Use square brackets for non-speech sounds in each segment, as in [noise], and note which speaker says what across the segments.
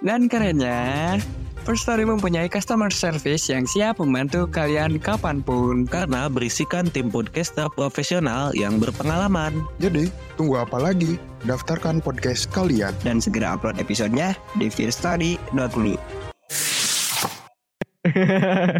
Speaker 1: Dan kerennya, First Story mempunyai customer service yang siap membantu kalian kapanpun.
Speaker 2: Karena berisikan tim podcaster profesional yang berpengalaman.
Speaker 3: Jadi, tunggu apa lagi? Daftarkan podcast kalian.
Speaker 4: Dan segera upload episodenya di fearstory.me.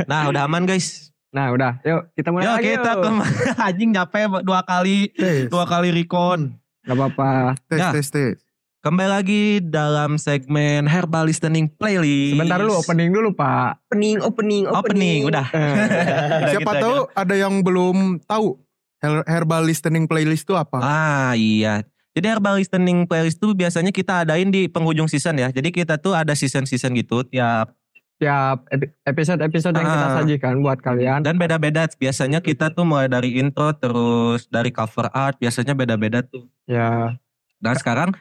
Speaker 2: Nah, udah aman guys.
Speaker 1: Nah udah, yuk kita mulai
Speaker 2: Yuk
Speaker 1: lagi
Speaker 2: kita
Speaker 1: yuk.
Speaker 2: kemana? [laughs] Anjing capek dua kali,
Speaker 3: Tes,
Speaker 2: dua kali recon.
Speaker 1: Gak apa-apa.
Speaker 3: tes,
Speaker 2: Nah.
Speaker 3: tes, tes.
Speaker 2: Kembali lagi dalam segmen Herbal Listening Playlist.
Speaker 1: Sebentar dulu opening Eh. dulu pak.
Speaker 4: Opening, opening,
Speaker 2: Opening, udah. Udah
Speaker 3: [laughs] Siapa
Speaker 2: gitu
Speaker 3: tahu
Speaker 2: aja.
Speaker 3: ada yang belum tahu her- herbal listening playlist itu apa?
Speaker 2: Ah iya. Jadi herbal listening playlist tuh biasanya kita adain di penghujung season ya. Jadi kita tuh ada season-season gitu tiap
Speaker 1: Tiap epi- episode-episode yang kita
Speaker 2: Ah.
Speaker 1: sajikan buat kalian.
Speaker 2: dan beda-beda. Biasanya kita tuh mulai dari intro terus dari cover art biasanya beda-beda tuh.
Speaker 1: Ya.
Speaker 2: Dan sekarang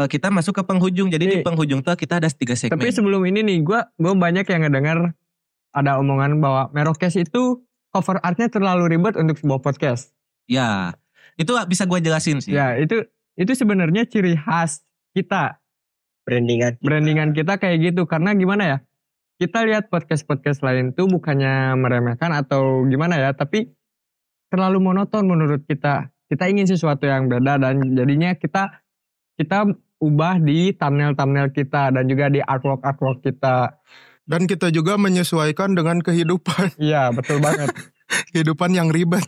Speaker 2: eh, kita masuk ke penghujung. Jadi di
Speaker 1: Nih.
Speaker 2: penghujung tuh kita ada tiga segmen.
Speaker 1: Tapi sebelum ini nih, gue gue banyak yang ngedengar ada omongan bahwa Merokes itu cover artnya terlalu ribet untuk sebuah podcast.
Speaker 2: ya. Itu bisa gua jelasin sih.
Speaker 1: Ya itu itu sebenarnya ciri khas kita
Speaker 4: Brandingan.
Speaker 1: brandingan kita kayak gitu karena gimana ya kita lihat podcast podcast lain tuh bukannya meremehkan atau gimana ya tapi terlalu monoton menurut kita kita ingin sesuatu yang beda dan jadinya kita kita ubah di thumbnail thumbnail kita dan juga di artwork artwork kita
Speaker 3: Dan kita juga menyesuaikan dengan kehidupan
Speaker 1: iya betul banget
Speaker 3: kehidupan yang ribet.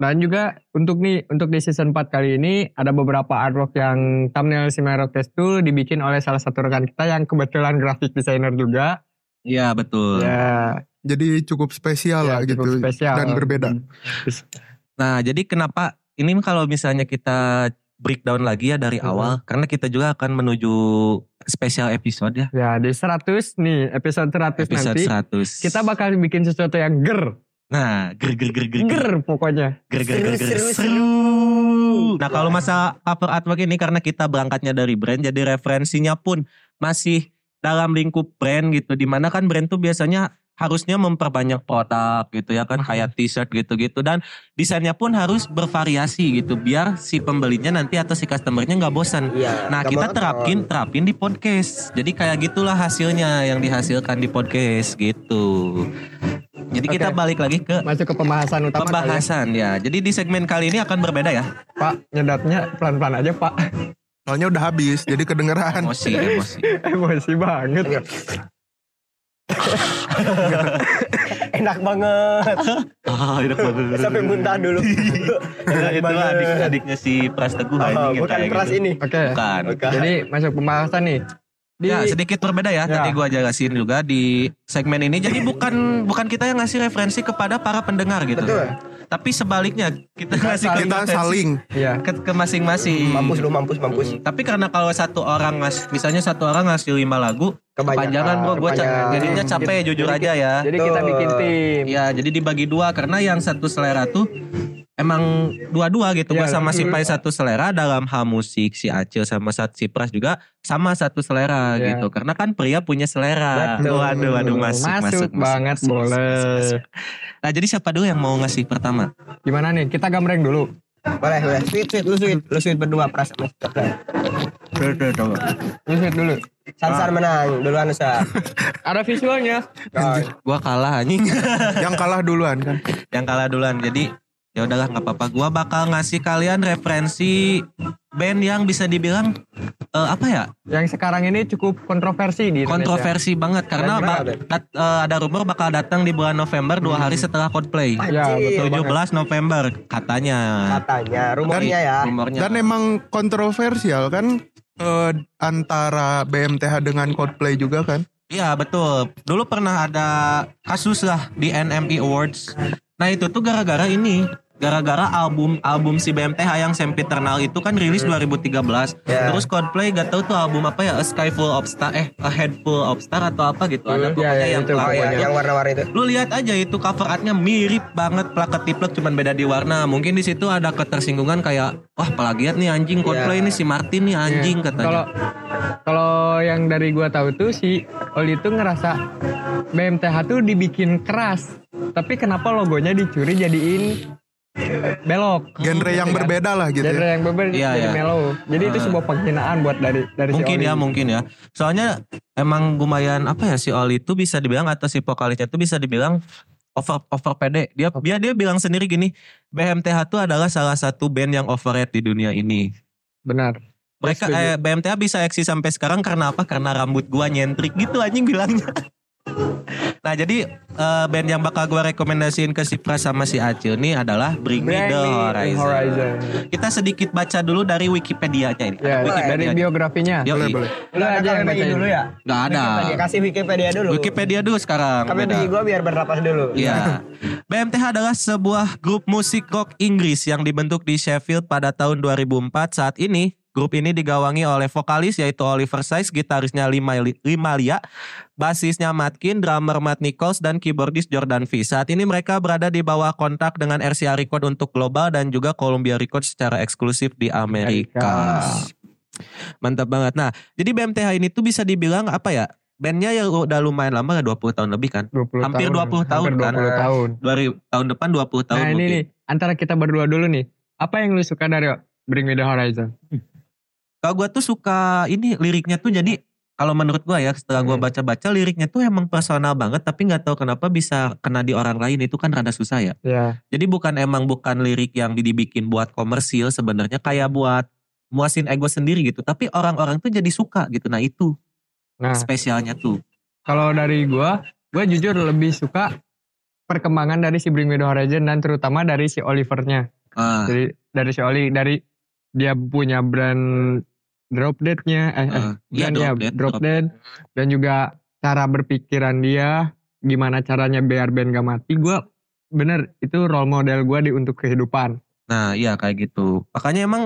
Speaker 1: dan juga untuk nih untuk di season 4 kali ini ada beberapa artwork yang thumbnail si Merokes tuh dibikin oleh salah satu rekan kita yang kebetulan grafik designer juga
Speaker 2: Iya, betul.
Speaker 1: ya
Speaker 3: Jadi cukup spesial lah
Speaker 1: cukup
Speaker 3: gitu.
Speaker 1: spesial.
Speaker 3: dan berbeda.
Speaker 2: Nah, jadi kenapa ini kalau misalnya kita breakdown lagi ya dari
Speaker 1: Mhm.
Speaker 2: awal karena kita juga akan menuju spesial episode ya.
Speaker 1: Ya di 100 nih episode 100
Speaker 2: Episode
Speaker 1: nanti
Speaker 2: 100.
Speaker 1: kita bakal bikin sesuatu yang ger,
Speaker 2: Nah, ger ger ger ger ger
Speaker 1: ger pokoknya.
Speaker 2: ger ger ger ger
Speaker 4: Seru, seru,
Speaker 2: seru. Nah, kalau masalah cover artwork ini karena kita berangkatnya dari brand jadi referensinya pun masih dalam lingkup brand gitu. Dimana kan brand tuh biasanya harusnya memperbanyak produk gitu ya kan kayak t-shirt gitu-gitu dan desainnya pun harus bervariasi gitu biar si pembelinya nanti atau si customernya nggak bosan.
Speaker 4: Iya.
Speaker 2: Nah kita terapin terapin di podcast. Jadi kayak gitulah hasilnya yang dihasilkan di podcast gitu. Jadi kita
Speaker 1: Oke.
Speaker 2: balik lagi ke
Speaker 1: Masuk ke pembahasan utama. kali ya.
Speaker 2: pembahasan ya. Jadi di segmen kali ini akan berbeda ya.
Speaker 1: Pak nyedotnya pelan-pelan aja Pak. [laughs]
Speaker 3: Soalnya udah habis, jadi kedengeran.
Speaker 2: Emosi emosi.
Speaker 1: Emosi banget.
Speaker 4: Enak banget.
Speaker 2: Ah enak banget.
Speaker 4: Sampai muntah
Speaker 2: [laughs]
Speaker 4: dulu. Enak
Speaker 2: itu
Speaker 4: banget.
Speaker 2: adik adiknya si Pras Teguh
Speaker 4: Oh,
Speaker 2: anjing yang
Speaker 4: bukan
Speaker 2: kayak
Speaker 4: keras
Speaker 2: gitu.
Speaker 4: ini.
Speaker 1: Oke.
Speaker 2: Bukan.
Speaker 4: Bukan.
Speaker 1: Jadi masuk pembahasan nih. Di
Speaker 2: Ya sedikit berbeda ya. Tadi
Speaker 1: Ya.
Speaker 2: gua jelasin juga di segmen ini. Jadi bukan bukan kita yang ngasih referensi kepada para pendengar gitu.
Speaker 4: Betul.
Speaker 2: Tapi sebaliknya kita ngasih ke
Speaker 3: Kita
Speaker 2: referensi
Speaker 3: saling
Speaker 1: Iya.
Speaker 2: ke, ke masing-masing.
Speaker 4: Mampus lu, mampus, mampus.
Speaker 2: Hmm, Tapi karena kalau satu orang ngas, misalnya satu orang ngasih lima lagu, kepanjangan bro, gue
Speaker 4: kepanjangan.
Speaker 2: jadinya capek jujur aja ya.
Speaker 1: Jadi kita
Speaker 4: Betul.
Speaker 1: bikin tim.
Speaker 2: Ya, jadi dibagi dua karena yang satu selera tuh emang dua-dua gitu. Gue
Speaker 1: Iya.
Speaker 2: sama si Pai satu selera dalam hal musik, si Acil sama sa- si Pras juga sama satu selera
Speaker 1: Iya.
Speaker 2: gitu. Karena kan pria punya selera.
Speaker 1: Betul.
Speaker 2: Nah, Waduh, waduh, masuk, masuk, masuk,
Speaker 1: banget
Speaker 2: masuk, masuk,
Speaker 1: boleh.
Speaker 2: masuk. Nah, jadi siapa dulu yang mau ngasih pertama?
Speaker 1: Gimana nih? Kita gambreng dulu.
Speaker 4: Boleh, boleh. Sweet, sweet, lu sweet. Lu sweet berdua, Pras. sama Pras.
Speaker 1: Lu shoot dulu.
Speaker 4: Sansan menang, duluan Nusa.
Speaker 1: Ada
Speaker 2: [laughs]
Speaker 1: visualnya. Nah,
Speaker 2: Gua kalah anjing.
Speaker 3: yang kalah duluan kan.
Speaker 2: yang kalah duluan. Jadi ya udahlah nggak apa-apa. Gua bakal ngasih kalian referensi band yang bisa dibilang eh, apa ya
Speaker 1: Yang sekarang ini cukup kontroversi di ya. Indonesia.
Speaker 2: kontroversi banget karena
Speaker 4: Keren
Speaker 2: ba-
Speaker 4: banget. Hmm.
Speaker 2: dat- eh, ada rumor bakal datang di bulan November dua hari setelah Coldplay.
Speaker 1: Ya, betul
Speaker 2: 17
Speaker 1: banget.
Speaker 2: November katanya.
Speaker 4: Katanya, rumornya ya.
Speaker 2: Rumornya.
Speaker 3: Dan emang kontroversial kan eh, antara BMTH dengan Coldplay juga kan.
Speaker 2: Iya betul. Dulu E pernah ada kasus lah di NME Awards. Nah itu tuh gara-gara ini gara-gara album album si BMTH yang Sempiternal itu kan rilis 2013
Speaker 4: Ya.
Speaker 2: terus Coldplay gak tahu tuh album apa ya A Sky Full of Star eh A Head Full of Star atau apa gitu ada
Speaker 1: Hmm,
Speaker 2: pokoknya
Speaker 1: ya, ya,
Speaker 2: yang
Speaker 1: itu
Speaker 4: Oh
Speaker 2: kelakuannya.
Speaker 4: ya, yang warna-warni itu.
Speaker 2: lu lihat aja itu cover artnya mirip banget plakat tiplek cuman beda di warna mungkin di situ ada ketersinggungan kayak wah plagiat nih anjing Coldplay
Speaker 4: Iya.
Speaker 2: ini si Martin nih anjing
Speaker 1: Kalau
Speaker 2: katanya
Speaker 1: kalau yang dari gua tahu tuh si Oli itu ngerasa BMTH tuh dibikin keras, tapi kenapa logonya dicuri jadiin belok.
Speaker 3: Genre yang
Speaker 1: Gitu kan.
Speaker 3: berbeda lah gitu
Speaker 1: Genre
Speaker 3: ya.
Speaker 1: yang berbeda
Speaker 2: Iya,
Speaker 1: jadi
Speaker 2: iya.
Speaker 1: mellow. Jadi itu
Speaker 2: Ah.
Speaker 1: sebuah penghinaan buat dari dari
Speaker 2: mungkin
Speaker 1: si Oli.
Speaker 2: ya mungkin ya soalnya emang lumayan apa ya si Oli itu bisa dibilang atau si vokalisnya itu bisa dibilang over over pede dia dia dia bilang sendiri gini BMTH itu adalah salah satu band yang overrated di dunia ini
Speaker 1: Benar.
Speaker 2: mereka
Speaker 1: Setuju.
Speaker 2: eh, BMTH bisa eksis sampai sekarang karena apa karena rambut gua nyentrik gitu anjing bilangnya [laughs] nah jadi eh, band yang bakal gua rekomendasiin ke si Pras sama si Acil nih adalah Bring Me The
Speaker 1: Brandy
Speaker 2: Horizon.
Speaker 1: Horizon.
Speaker 2: kita sedikit baca dulu dari Wikipedia-nya ini
Speaker 4: Boleh.
Speaker 1: Ya, dari
Speaker 2: Wikipedia-nya.
Speaker 1: biografinya.
Speaker 3: Boleh
Speaker 2: Yoi.
Speaker 3: boleh.
Speaker 1: Lu aja yang
Speaker 4: bagi
Speaker 1: bacain.
Speaker 4: dulu ya.
Speaker 2: nggak ada
Speaker 4: Wikipedia, kasih Wikipedia dulu.
Speaker 2: Wikipedia dulu sekarang.
Speaker 4: Kami
Speaker 2: beda.
Speaker 4: bagi gua biar bernapas dulu.
Speaker 2: Iya. BMTH adalah sebuah grup musik rock Inggris yang dibentuk di Sheffield pada tahun 2004. Saat ini, grup ini digawangi oleh vokalis yaitu Oliver Sykes, gitarisnya Lima- Limalia, basisnya Matkin, drummer Matt Nichols, dan keyboardis Jordan V. Saat ini mereka berada di bawah kontak dengan RCA Record untuk global dan juga Columbia Record secara eksklusif di Amerika. Mantap banget. Nah, jadi BMTH ini tuh bisa dibilang apa ya? Bandnya ya udah lumayan lama, 20 tahun lebih kan?
Speaker 1: 20
Speaker 2: Hampir 20 tahun
Speaker 1: Hampir
Speaker 2: kan?
Speaker 1: 20 tahun.
Speaker 2: dari tahun depan 20 tahun
Speaker 1: Nah ini
Speaker 2: mungkin.
Speaker 1: nih antara kita berdua dulu nih. Apa yang lu suka dari Bring Me The Horizon?
Speaker 2: Kalau gue tuh suka ini liriknya tuh jadi kalau menurut gue ya setelah gue
Speaker 1: Hmm.
Speaker 2: baca-baca liriknya tuh emang personal banget tapi nggak tahu kenapa bisa kena di orang lain itu kan rada susah ya.
Speaker 1: Ya.
Speaker 2: Jadi bukan emang bukan lirik yang dibikin buat komersil sebenarnya kayak buat muasin ego sendiri gitu tapi orang-orang tuh jadi suka gitu nah itu
Speaker 1: Nah
Speaker 2: spesialnya tuh
Speaker 1: kalau dari gua, gua jujur lebih suka perkembangan dari si Bring Me The Horizon dan terutama dari si Olivernya.
Speaker 2: Ah,
Speaker 1: Jadi dari si Oli dari dia punya brand drop dead-nya, eh, eh
Speaker 2: ah. Iya,
Speaker 1: brand ya,
Speaker 2: dead,
Speaker 1: drop
Speaker 2: drop
Speaker 1: dead dan juga cara berpikiran dia gimana caranya biar band gak mati gua bener itu role model gua di untuk kehidupan
Speaker 2: Nah, iya kayak gitu. Makanya emang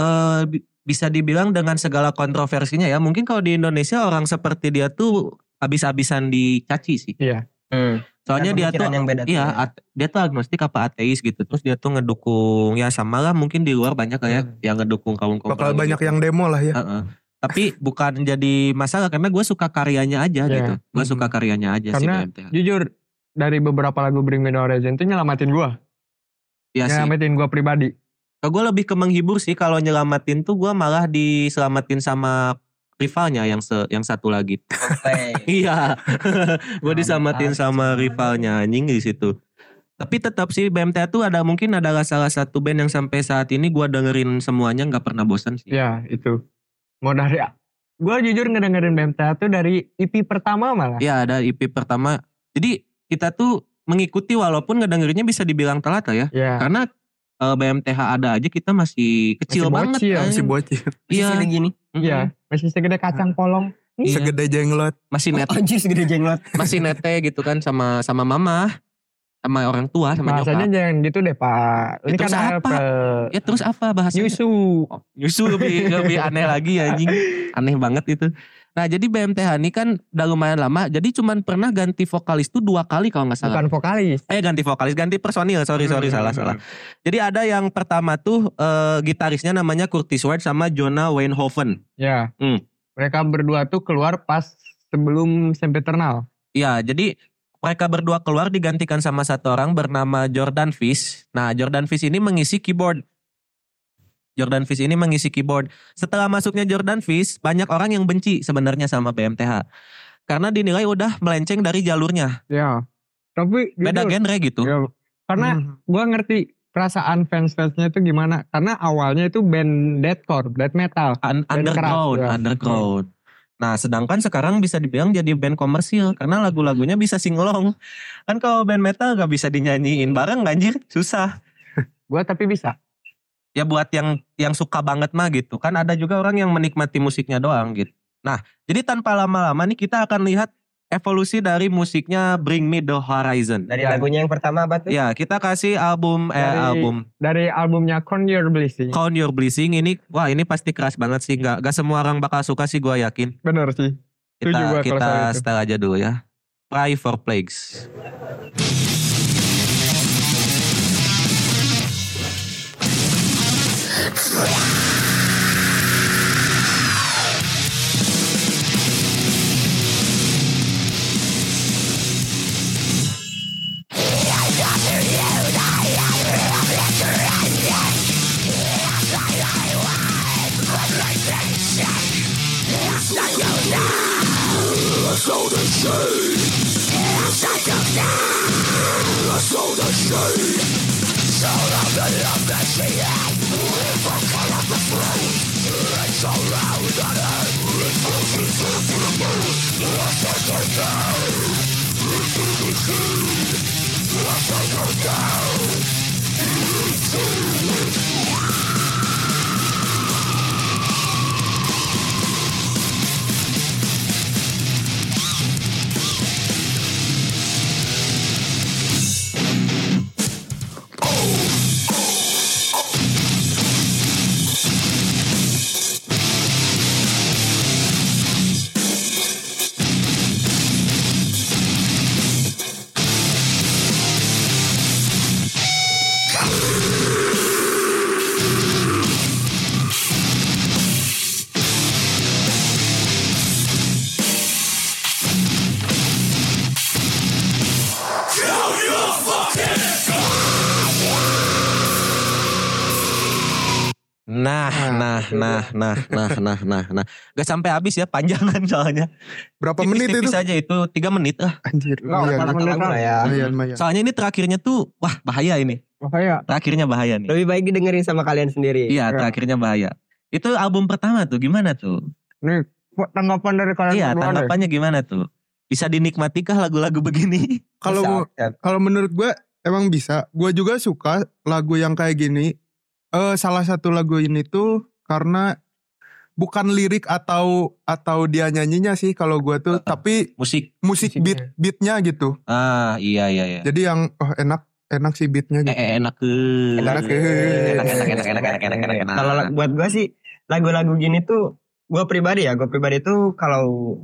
Speaker 2: eh, bi- bisa dibilang dengan segala kontroversinya ya. Mungkin kalau di Indonesia orang seperti dia tuh habis-habisan dicaci sih.
Speaker 3: Iya.
Speaker 2: Soalnya dia tuh
Speaker 4: Hmm. yang beda. tuh. ya.
Speaker 2: iya at- dia tuh agnostik apa ateis gitu. Terus dia tuh ngedukung ya samalah mungkin di luar banyak kayak yang ngedukung kaum-kaum
Speaker 3: Hmm. Bakal banyak
Speaker 2: gitu.
Speaker 3: yang demo lah ya.
Speaker 2: Heeh. Tapi bukan jadi masalah karena gue suka karyanya aja
Speaker 1: Iya.
Speaker 2: gitu. Gue suka
Speaker 3: Hmm.
Speaker 2: karyanya aja sih
Speaker 1: Karena
Speaker 2: BMTH.
Speaker 1: jujur dari beberapa lagu Bring Me The Horizon itu nyelamatin gua
Speaker 2: Iya
Speaker 3: ya,
Speaker 2: sih.
Speaker 1: nyelamatin gua pribadi
Speaker 2: gue lebih ke menghibur sih kalau nyelamatin tuh gue malah diselamatin sama rivalnya yang se- yang satu lagi. [laughs]
Speaker 4: Play.
Speaker 2: Iya,
Speaker 1: Nah,
Speaker 2: gue diselamatin sama rivalnya anjing di situ. Tapi tetap sih BMT tuh ada mungkin adalah salah satu band yang sampai saat ini gue dengerin semuanya nggak pernah bosan sih.
Speaker 5: Iya.
Speaker 1: ya itu mau dari gua jujur ngedengerin BMTA tuh dari EP pertama malah
Speaker 2: Iya ada IP pertama. Jadi kita tuh mengikuti walaupun ngedengerinnya bisa dibilang telat lah ya.
Speaker 5: Iya.
Speaker 1: ya
Speaker 2: Karena eh, BMTH ada aja kita masih kecil
Speaker 1: Masih
Speaker 2: banget.
Speaker 1: bocil,
Speaker 2: kan.
Speaker 3: Si bocil
Speaker 2: Iya.
Speaker 4: Sisi gini.
Speaker 2: Mm-mm.
Speaker 1: Iya, masih segede kacang polong
Speaker 2: Iya.
Speaker 3: segede jenglot.
Speaker 2: Masih net
Speaker 4: Anjir segede jenglot.
Speaker 2: masih nete gitu kan sama sama mama sama orang tua sama
Speaker 1: bahasanya
Speaker 2: nyokap
Speaker 1: jangan gitu deh pak ini
Speaker 2: Ya, terus
Speaker 1: kan
Speaker 2: apa?
Speaker 1: apel.
Speaker 2: ya terus apa bahasanya
Speaker 1: nyusu
Speaker 2: Oh, nyusu lebih lebih aneh lagi anjing aneh banget itu nah jadi BMTH ini kan udah lumayan lama jadi cuman pernah ganti vokalis tuh dua kali kalau nggak salah
Speaker 1: bukan vokalis
Speaker 2: eh ganti vokalis ganti personil sorry sorry
Speaker 1: Hmm.
Speaker 2: salah salah jadi ada yang pertama tuh eh, gitarisnya namanya Curtis White sama Jonah Weinhoven
Speaker 5: Iya.
Speaker 1: Ya.
Speaker 2: Hmm.
Speaker 1: Mereka berdua tuh keluar pas sebelum sempiternal.
Speaker 2: Iya, jadi mereka berdua keluar digantikan sama satu orang bernama Jordan Fish. Nah, Jordan Fish ini mengisi keyboard. Jordan Fish ini mengisi keyboard. Setelah masuknya Jordan Fish, banyak orang yang benci sebenarnya sama BMTH. Karena dinilai udah melenceng dari jalurnya.
Speaker 5: Iya.
Speaker 1: Ya. Tapi
Speaker 2: Beda
Speaker 1: jujur,
Speaker 2: genre gitu.
Speaker 1: ya, Karena
Speaker 5: Hmm.
Speaker 1: gua ngerti perasaan fans-fansnya itu gimana. Karena awalnya itu band deathcore, death metal.
Speaker 2: Un-
Speaker 1: Band
Speaker 2: underground,
Speaker 1: keras, ya.
Speaker 2: underground. Nah, sedangkan sekarang bisa dibilang jadi band komersil karena lagu-lagunya bisa singlong. Kan kalau band metal gak bisa dinyanyiin bareng anjir, susah.
Speaker 1: Gua tapi bisa.
Speaker 2: ya buat yang yang suka banget mah gitu kan ada juga orang yang menikmati musiknya doang gitu nah jadi tanpa lama-lama nih kita akan lihat evolusi dari musiknya Bring Me The Horizon.
Speaker 5: Dari
Speaker 1: Ya.
Speaker 5: lagunya yang pertama apa tuh?
Speaker 2: Ya, kita kasih album eh
Speaker 1: Dari-
Speaker 2: album
Speaker 1: dari albumnya Con Your Blessing.
Speaker 2: Count Your Blessing ini wah ini pasti keras banget sih nggak nggak semua orang bakal suka sih gua yakin.
Speaker 1: Bener sih.
Speaker 2: Kita
Speaker 1: Setuju gua kalau
Speaker 2: kita
Speaker 1: soal itu.
Speaker 2: setel aja dulu ya. Pray for Plagues. Nah, nah, nah, nah, nah, nah, nah, nah. Gak sampai habis ya panjangan soalnya.
Speaker 3: [laughs] Berapa menit itu?
Speaker 2: Tipis-tipis aja itu tiga menit ah.
Speaker 3: Anjir,
Speaker 1: Nah,
Speaker 3: lumayan.
Speaker 1: mana-
Speaker 5: Lagu lah ya.
Speaker 3: Lumayan, lumayan.
Speaker 2: Soalnya ini terakhirnya tuh wah bahaya ini.
Speaker 1: Makanya
Speaker 2: Terakhirnya bahaya nih.
Speaker 5: Lebih baik didengerin sama kalian sendiri.
Speaker 2: Iya, terakhirnya bahaya. Itu album pertama tuh gimana tuh?
Speaker 1: tanggapan dari kalian
Speaker 2: Iya,
Speaker 1: berdua deh.
Speaker 2: tanggapannya gimana tuh? Bisa dinikmatikah lagu-lagu begini? [laughs]
Speaker 3: Kalau
Speaker 5: Bisa,
Speaker 3: mau-
Speaker 5: ya.
Speaker 3: kalau menurut gue emang bisa. Gue juga suka lagu yang kayak gini. Eh salah satu lagu ini tuh karena bukan lirik atau atau dia nyanyinya sih kalau gue tuh,
Speaker 2: Uh-uh.
Speaker 3: tapi
Speaker 2: Musik.
Speaker 3: musik beat
Speaker 1: Musiknya.
Speaker 3: beatnya gitu.
Speaker 2: Ah, iya iya iya.
Speaker 3: Jadi yang oh, enak enak sih beatnya
Speaker 2: Eh,
Speaker 3: gitu.
Speaker 2: eh, enak ke.
Speaker 1: Iya,
Speaker 3: Enak,
Speaker 2: Enak
Speaker 3: eh.
Speaker 2: enak enak enak enak enak enak. enak.
Speaker 5: Kalau buat gue sih lagu-lagu gini tuh gue pribadi ya, gue pribadi tuh kalau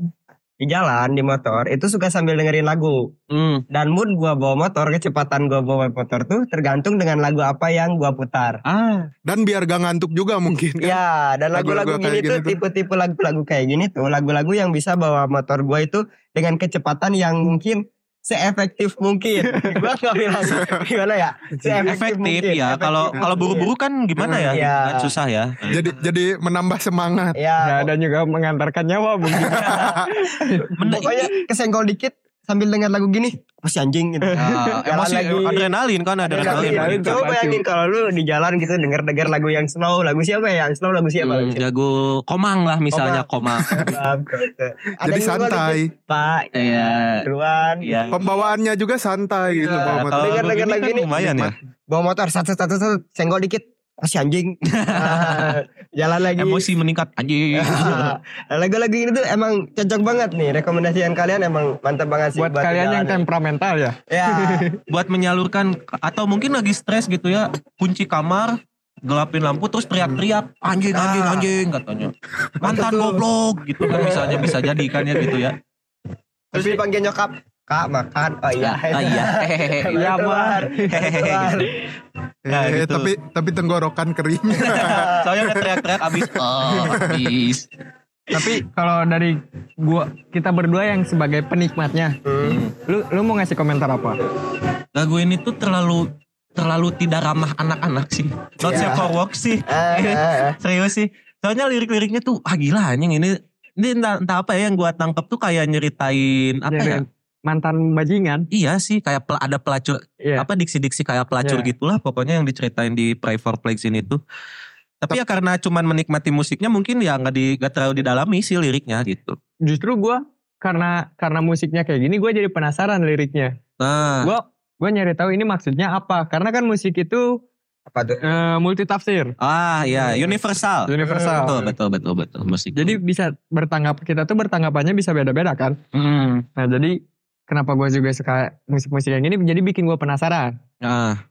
Speaker 5: di jalan di motor itu suka sambil dengerin lagu
Speaker 2: Hmm,
Speaker 5: dan mood gue bawa motor kecepatan gue bawa motor tuh tergantung dengan lagu apa yang gue putar.
Speaker 2: ah,
Speaker 3: Dan biar gak ngantuk juga mungkin kan.
Speaker 5: Ya dan
Speaker 3: Lagu-lagu
Speaker 5: lagu-lagu gini
Speaker 3: kayak
Speaker 5: tuh
Speaker 3: gini tuh.
Speaker 5: tipe-tipe lagu-lagu kayak gini tuh lagu-lagu yang bisa bawa motor gue itu dengan kecepatan yang mungkin seefektif mungkin. gue nggak bilang gimana ya seefektif
Speaker 2: efektif
Speaker 5: mungkin,
Speaker 2: ya.
Speaker 5: efektif
Speaker 2: Kalau kalau
Speaker 5: mungkin.
Speaker 2: buru-buru kan gimana ya?
Speaker 5: Iya.
Speaker 2: Kan susah ya.
Speaker 3: Jadi jadi menambah semangat.
Speaker 1: Ya,
Speaker 5: Ya,
Speaker 1: dan juga mengantarkan nyawa
Speaker 5: [laughs]
Speaker 1: mungkin.
Speaker 2: Menda-
Speaker 5: Pokoknya kesenggol dikit sambil dengar lagu gini, masih anjing gitu.
Speaker 2: Ah,
Speaker 5: [laughs] Jalan
Speaker 2: emosi
Speaker 5: lagi.
Speaker 2: adrenalin kan adrenalin.
Speaker 1: Adrenalin.
Speaker 5: Iya, Coba bayangin kalau lu di jalan gitu denger-denger lagu yang slow, lagu siapa ya? Yang slow lagu siapa?
Speaker 2: Hmm,
Speaker 5: Lagu siapa?
Speaker 2: jago komang lah misalnya komang.
Speaker 5: Paham, kau tuh. Ada
Speaker 3: jadi
Speaker 5: yang gua
Speaker 3: santai.
Speaker 5: dikit, Pak,
Speaker 2: Iya.
Speaker 5: Ruan, [laughs]
Speaker 2: Iya.
Speaker 3: Pembawaannya juga santai gitu.
Speaker 5: Iya,
Speaker 3: Pak Ahmad.
Speaker 2: Kalau
Speaker 5: Dengar-
Speaker 2: lagu
Speaker 5: dengar
Speaker 2: ini
Speaker 5: lagu
Speaker 2: kan
Speaker 5: ini.
Speaker 2: lumayan ya.
Speaker 5: bawa motor satu satu satu senggol dikit, masih anjing.
Speaker 2: [laughs]
Speaker 5: Ah, jalan lagi.
Speaker 2: Emosi meningkat anjing.
Speaker 5: [laughs] Ah, Lagu-lagu ini tuh emang cocok banget nih rekomendasian kalian emang mantap banget sih
Speaker 1: Buat kalian yang
Speaker 2: kan-
Speaker 5: dijalani.
Speaker 1: temperamental ya.
Speaker 2: [laughs]
Speaker 5: ya
Speaker 2: buat menyalurkan atau mungkin lagi stres gitu ya kunci kamar gelapin lampu terus teriak-teriak anjing anjing
Speaker 5: Ah.
Speaker 2: anjing katanya mantan goblok gitu kan misalnya bisa jadi kan ya gitu ya
Speaker 5: terus dipanggil nyokap kak makan oh iya
Speaker 2: ah,
Speaker 5: [laughs]
Speaker 2: iya Hehehe.
Speaker 5: Nah,
Speaker 1: Iya,
Speaker 5: Keluar,
Speaker 2: Hehehe, gitu.
Speaker 5: keluar.
Speaker 2: Nah,
Speaker 3: Eh,
Speaker 2: gitu.
Speaker 3: tapi tapi tenggorokan kering.
Speaker 2: soalnya udah teriak-teriak abis oh
Speaker 5: [laughs]
Speaker 2: abis
Speaker 1: Tapi kalau dari gua kita berdua yang sebagai penikmatnya,
Speaker 5: Hmm.
Speaker 1: lu lu mau ngasih komentar apa?
Speaker 2: lagu ini tuh terlalu terlalu tidak ramah anak-anak sih not
Speaker 5: Iya.
Speaker 2: safe for work sih
Speaker 5: Eh, eh, eh.
Speaker 2: Serius sih. Soalnya lirik-liriknya tuh ah gila anjing ini ini entah, entah apa ya yang gua tangkep tuh kayak nyeritain apa ya?
Speaker 1: Nyeritain. Mantan bajingan?
Speaker 2: Iya sih kayak pel- ada pelacur
Speaker 1: Iya.
Speaker 2: apa diksi-diksi kayak pelacur
Speaker 1: Iya.
Speaker 2: gitulah pokoknya yang diceritain di Pray for Plagues ini tuh. Tapi ya karena cuman menikmati musiknya mungkin ya nggak di nggak terlalu didalami sih liriknya gitu.
Speaker 1: Justru gua karena karena musiknya kayak gini gua jadi penasaran liriknya.
Speaker 2: Nah,
Speaker 1: Gua gua nyari tahu ini maksudnya apa. Karena kan musik itu
Speaker 6: Apa tuh?
Speaker 1: Eh, multitafsir
Speaker 2: Ah ya, universal.
Speaker 1: Iya, universal.
Speaker 2: Betul, betul, betul, betul. Musik.
Speaker 1: Jadi bisa bertanggap kita tuh bertanggapannya bisa beda-beda kan.
Speaker 2: Hmm.
Speaker 1: Nah jadi kenapa gue juga suka musik-musik yang ini jadi bikin gue penasaran.
Speaker 2: Nah.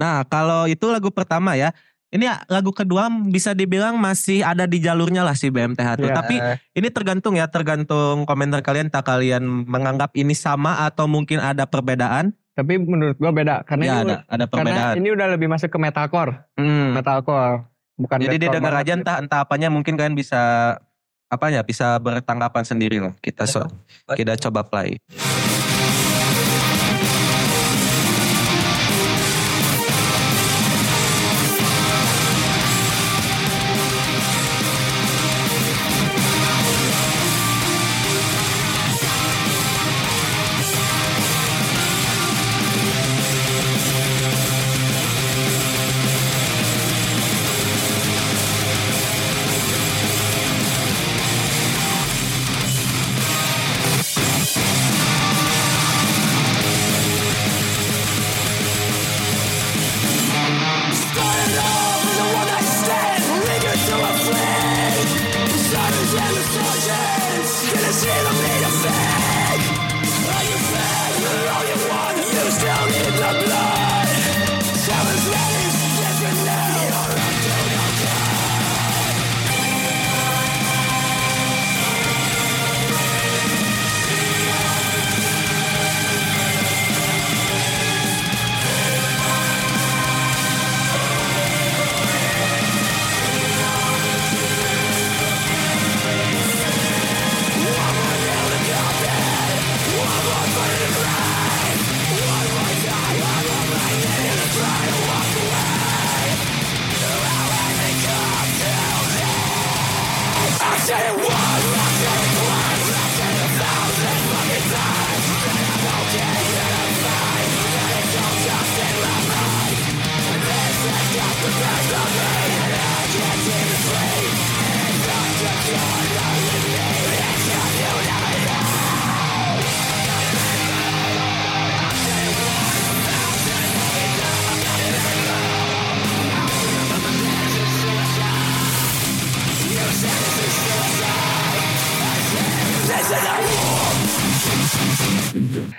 Speaker 2: Nah, kalau itu lagu pertama ya. Ini lagu kedua bisa dibilang masih ada di jalurnya lah si BMTH tuh.
Speaker 1: Iya.
Speaker 2: Tapi ini tergantung ya, tergantung komentar kalian. Tak kalian menganggap ini sama atau mungkin ada perbedaan?
Speaker 1: Tapi menurut gue beda karena
Speaker 2: ya
Speaker 1: ini
Speaker 2: ada, ada
Speaker 1: karena
Speaker 2: perbedaan.
Speaker 1: ini udah lebih masuk ke metalcore,
Speaker 2: Hmm.
Speaker 1: metalcore bukan.
Speaker 5: Kan
Speaker 2: Jadi
Speaker 1: deathcore
Speaker 2: didengar
Speaker 1: banget.
Speaker 2: aja entah entah apanya mungkin kalian bisa apanya bisa bertanggapan sendiri lah. Kita so, kita coba play.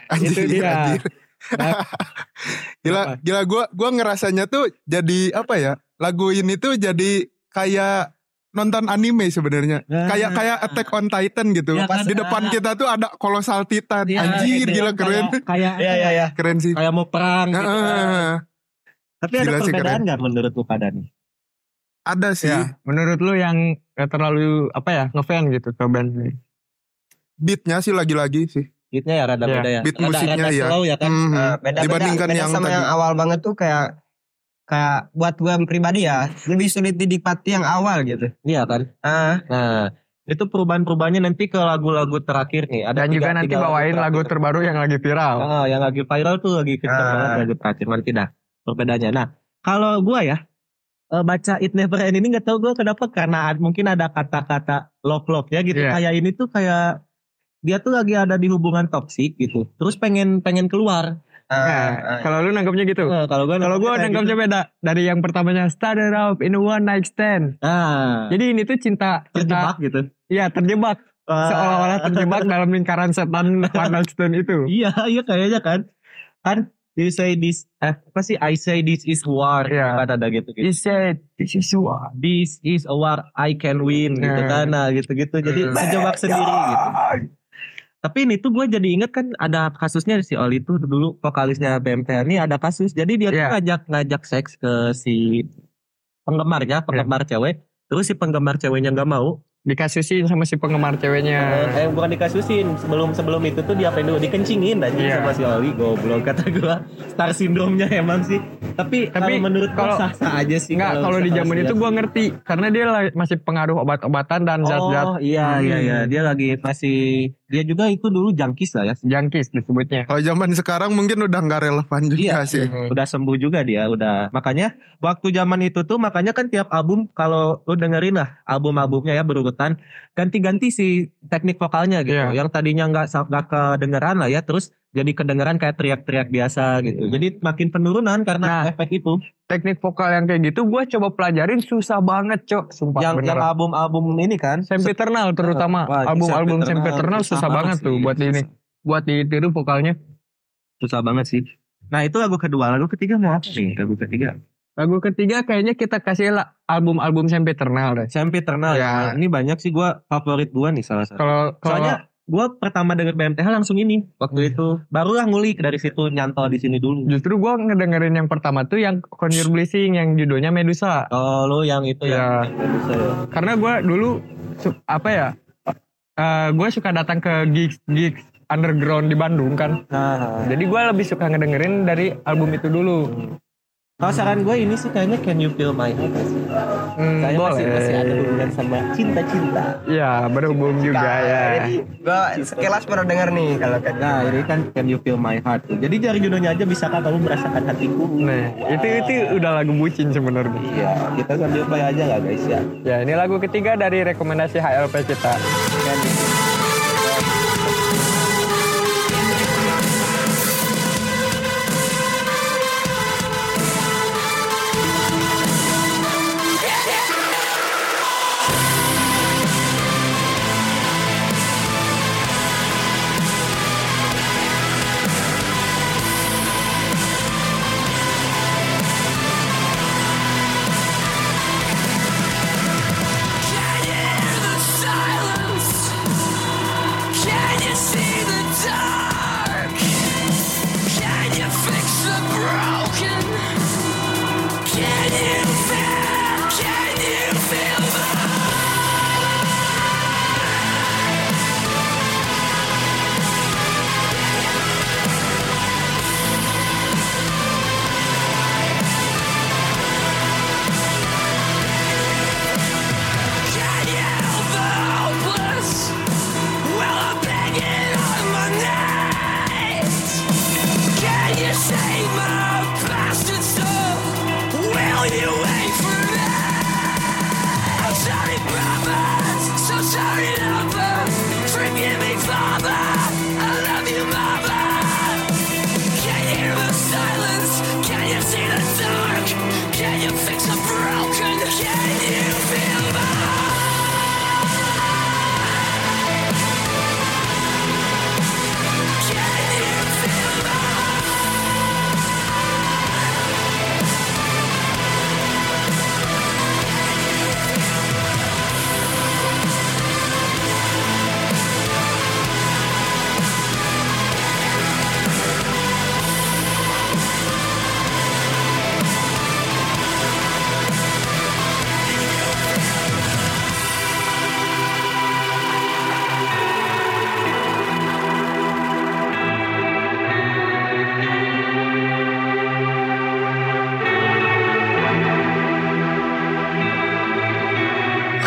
Speaker 3: Anjir,
Speaker 1: Itu dia.
Speaker 3: anjir.
Speaker 1: Nah,
Speaker 3: [laughs] gila
Speaker 1: kenapa?
Speaker 3: gila gua gua ngerasanya tuh jadi apa ya? Lagu ini tuh jadi kayak nonton anime sebenarnya. Kayak kayak Attack on Titan gitu.
Speaker 5: Ya,
Speaker 3: Pas
Speaker 5: Nah. kan?
Speaker 3: di depan kita tuh ada kolosal titan.
Speaker 5: Ya,
Speaker 3: Anjir,
Speaker 5: gitu.
Speaker 3: gila keren.
Speaker 5: Kayak- kayak
Speaker 6: Iya iya iya.
Speaker 3: Keren sih.
Speaker 5: kayak mau perang gitu.
Speaker 3: Heeh.
Speaker 5: tapi
Speaker 3: gila
Speaker 5: ada
Speaker 3: sih,
Speaker 5: perbedaan nggak menurut lu pada nih
Speaker 3: Ada sih
Speaker 5: Iya.
Speaker 1: Ya, menurut lu yang gak terlalu apa ya ngefan gitu ke band ini?
Speaker 3: beatnya sih lagi-lagi sih.
Speaker 5: beatnya ya rada
Speaker 1: Iya.
Speaker 5: beda ya
Speaker 3: Beat
Speaker 5: Rada-
Speaker 3: musiknya
Speaker 5: rada
Speaker 3: ya.
Speaker 5: slow ya kan
Speaker 3: Mhm.
Speaker 6: Eh, beda
Speaker 3: Dibandingkan
Speaker 6: beda
Speaker 3: yang
Speaker 6: sama
Speaker 3: tadi.
Speaker 6: yang awal banget tuh kayak kayak buat gue pribadi ya lebih sulit didikmati yang awal gitu.
Speaker 5: iya kan
Speaker 6: Ah,
Speaker 5: nah itu perubahan-perubahannya nanti ke lagu-lagu terakhir nih ada
Speaker 1: Dan juga
Speaker 5: tiga-
Speaker 1: nanti
Speaker 5: tiga
Speaker 1: bawain lagu Oh,
Speaker 5: terakhir.
Speaker 1: terbaru yang lagi viral.
Speaker 5: Ah, yang lagi viral tuh lagi kenceng
Speaker 6: Ah.
Speaker 5: banget lagu terakhir nanti dah perbedaannya. Nah, kalau gua ya eh, baca It Never End ini nggak tahu gua kenapa karena ad- mungkin ada kata-kata love love ya gitu.
Speaker 1: Iya.
Speaker 5: Kayak ini tuh kayak dia tuh lagi ada di hubungan toksik gitu. Terus pengen pengen keluar.
Speaker 1: Nah,
Speaker 6: ah, ah.
Speaker 1: kalau lu nanggapnya gitu.
Speaker 5: Eh, kalau gua
Speaker 1: Kalau gue
Speaker 5: kayak
Speaker 1: nanggapnya beda dari yang pertamanya started off in a one night stand.
Speaker 5: gitu. Nah,
Speaker 1: Jadi ini tuh cinta cinta
Speaker 5: terjebak gitu. Eh,
Speaker 1: Iya terjebak
Speaker 5: Wah.
Speaker 1: seolah-olah terjebak dalam lingkaran [laughs] setan one night stand itu.
Speaker 5: Iya, [laughs] iya kayaknya kan. Kan you say this eh, apa sih I say this is war
Speaker 1: Iya.
Speaker 5: kan ada gitu gitu.
Speaker 1: He said this is war.
Speaker 5: this is a war I can win gitu
Speaker 1: Hmm.
Speaker 5: kan nah gitu-gitu jadi
Speaker 1: Hmm.
Speaker 5: terjebak sendiri gitu tapi ini tuh gue jadi inget kan ada kasusnya si Oli tuh dulu vokalisnya BMTR ini ada kasus jadi dia tuh
Speaker 1: Iya.
Speaker 5: ngajak ngajak seks ke si penggemarnya penggemar cewek terus si penggemar ceweknya nggak mau
Speaker 1: Dikasusin sama si penggemar ceweknya.
Speaker 5: eh bukan dikasusin sebelum sebelum itu tuh dia pengen dikencingin aja
Speaker 1: Iya.
Speaker 5: sama si Oli goblok kata gue star syndrome-nya emang sih tapi
Speaker 1: Tapi
Speaker 5: kalau menurut gue
Speaker 1: kalau-
Speaker 5: sah sah aja sih
Speaker 1: Enggak, kalau di zaman
Speaker 5: misalkan
Speaker 1: itu
Speaker 5: lihat.
Speaker 1: gue ngerti karena dia la- masih pengaruh obat-obatan dan zat-zat
Speaker 5: Oh iya iya
Speaker 1: Hmm.
Speaker 5: iya dia lagi masih dia juga itu dulu jangkis lah ya
Speaker 1: jangkis disebutnya.
Speaker 3: Kalau zaman sekarang mungkin udah nggak relevan juga
Speaker 5: Iya.
Speaker 3: sih.
Speaker 5: udah sembuh juga dia udah makanya waktu zaman itu tuh makanya kan tiap album kalau lu dengerin lah album-albumnya ya berurutan ganti-ganti si teknik vokalnya gitu
Speaker 1: Iya.
Speaker 5: yang tadinya nggak sa- nggak kedengeran lah ya terus
Speaker 2: jadi kedengaran kayak teriak-teriak biasa gitu. Jadi makin penurunan
Speaker 1: Iya. Nah.
Speaker 2: karena efek itu.
Speaker 1: Teknik vokal yang kayak gitu gue coba pelajarin susah banget, Cok. Sumpah
Speaker 2: yang yang
Speaker 1: beneran.
Speaker 2: album-album ini kan
Speaker 1: Sempiternal terutama
Speaker 2: Wah, ini
Speaker 1: album-album
Speaker 2: Sempiternal,
Speaker 1: Sempiternal susah banget
Speaker 2: sih.
Speaker 1: tuh buat ini, buat ditiru vokalnya.
Speaker 2: susah banget sih. Nah itu lagu kedua, lagu ketiga mau apa nih? Lagu ketiga.
Speaker 1: Lagu ketiga kayaknya kita kasih lah album-album Sempiternal deh.
Speaker 2: SMP Eternal ya.
Speaker 1: Ya.
Speaker 2: Ini banyak sih gua favorit gua nih salah satu.
Speaker 1: Kalau kalau
Speaker 2: Soalnya gua pertama denger BMTH langsung ini
Speaker 5: Hmm.
Speaker 2: waktu itu barulah ngulik dari situ nyantol di sini dulu.
Speaker 1: justru gue ngedengerin yang pertama tuh yang Conjure Blessing yang judulnya Medusa.
Speaker 2: Oh lo yang itu ya.
Speaker 1: Ya, karena gue dulu su- apa ya? gue suka datang ke gigs gigs underground di Bandung kan.
Speaker 2: Nah,
Speaker 1: Jadi gue lebih suka ngedengerin dari album itu dulu.
Speaker 2: kalau saran gue ini sih kayaknya Can You Feel My Heart?
Speaker 1: Hmm,
Speaker 2: Saya
Speaker 1: boleh.
Speaker 2: masih masih ada hubungan sama cinta-cinta.
Speaker 1: Ya berhubung juga ya.
Speaker 5: Nah, Jadi gua sekilas pernah dengar nih kalau kayak gitu.
Speaker 2: Nah ini kan Can You Feel My Heart? Jadi dari judulnya aja bisakah kamu merasakan hatiku?
Speaker 1: Nah itu itu udah lagu bucin sebenarnya.
Speaker 2: Iya, kita sambil play aja nggak guys ya?
Speaker 1: Ya ini lagu ketiga dari rekomendasi HLP kita.
Speaker 7: Can you hear the silence? Can you see the dark? Can you fix the broken? Can you feel? Can you feel the Can you help the hopeless? Well, I'm begging on my knees. Can you save my bastard soul? Will you wait for me? I'm sorry, brothers. So sorry, lover. Forgive me, father. I love you, mother. Can you hear the silence? Can you see the dark? Can you fix the broken? Can you feel the Can you feel the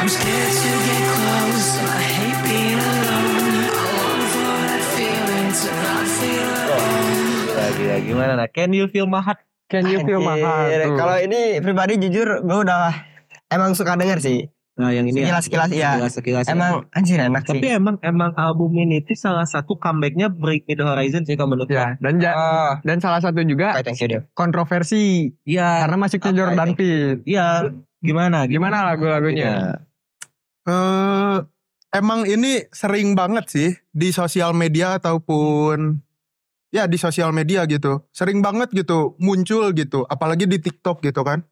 Speaker 7: I'm scared to get close. I hate being alone. I long for that feeling to not feel alone.
Speaker 2: Lagi ya gimana? Nah, Can You Feel My Heart?
Speaker 1: Can
Speaker 5: Iya,
Speaker 1: you feel my heart?
Speaker 5: Anjir,
Speaker 1: Tuh.
Speaker 5: Kalau ini pribadi jujur gue udah emang suka denger sih.
Speaker 2: Nah yang ini ya.
Speaker 5: Sekilas-sekilas ya.
Speaker 2: Sekilas-sekilas ya.
Speaker 5: Emang anjir enak
Speaker 2: Tapi
Speaker 5: sih.
Speaker 2: emang emang album ini tuh salah satu comebacknya Break Me The Horizon sih kalau menurut gua.
Speaker 1: Ya dan
Speaker 2: Ah.
Speaker 1: ja-
Speaker 5: Oh,
Speaker 1: dan salah satu juga
Speaker 5: thank you Dev.
Speaker 1: kontroversi
Speaker 2: Iya,
Speaker 1: karena masuknya
Speaker 5: Apa
Speaker 1: Jordan
Speaker 5: ini?
Speaker 1: Peele.
Speaker 2: iya. Gimana?
Speaker 1: Gimana lagu-lagunya?
Speaker 2: Ya.
Speaker 3: Eh, emang ini sering banget sih di sosial media ataupun ya di sosial media gitu. Sering banget gitu muncul gitu, apalagi di TikTok gitu kan.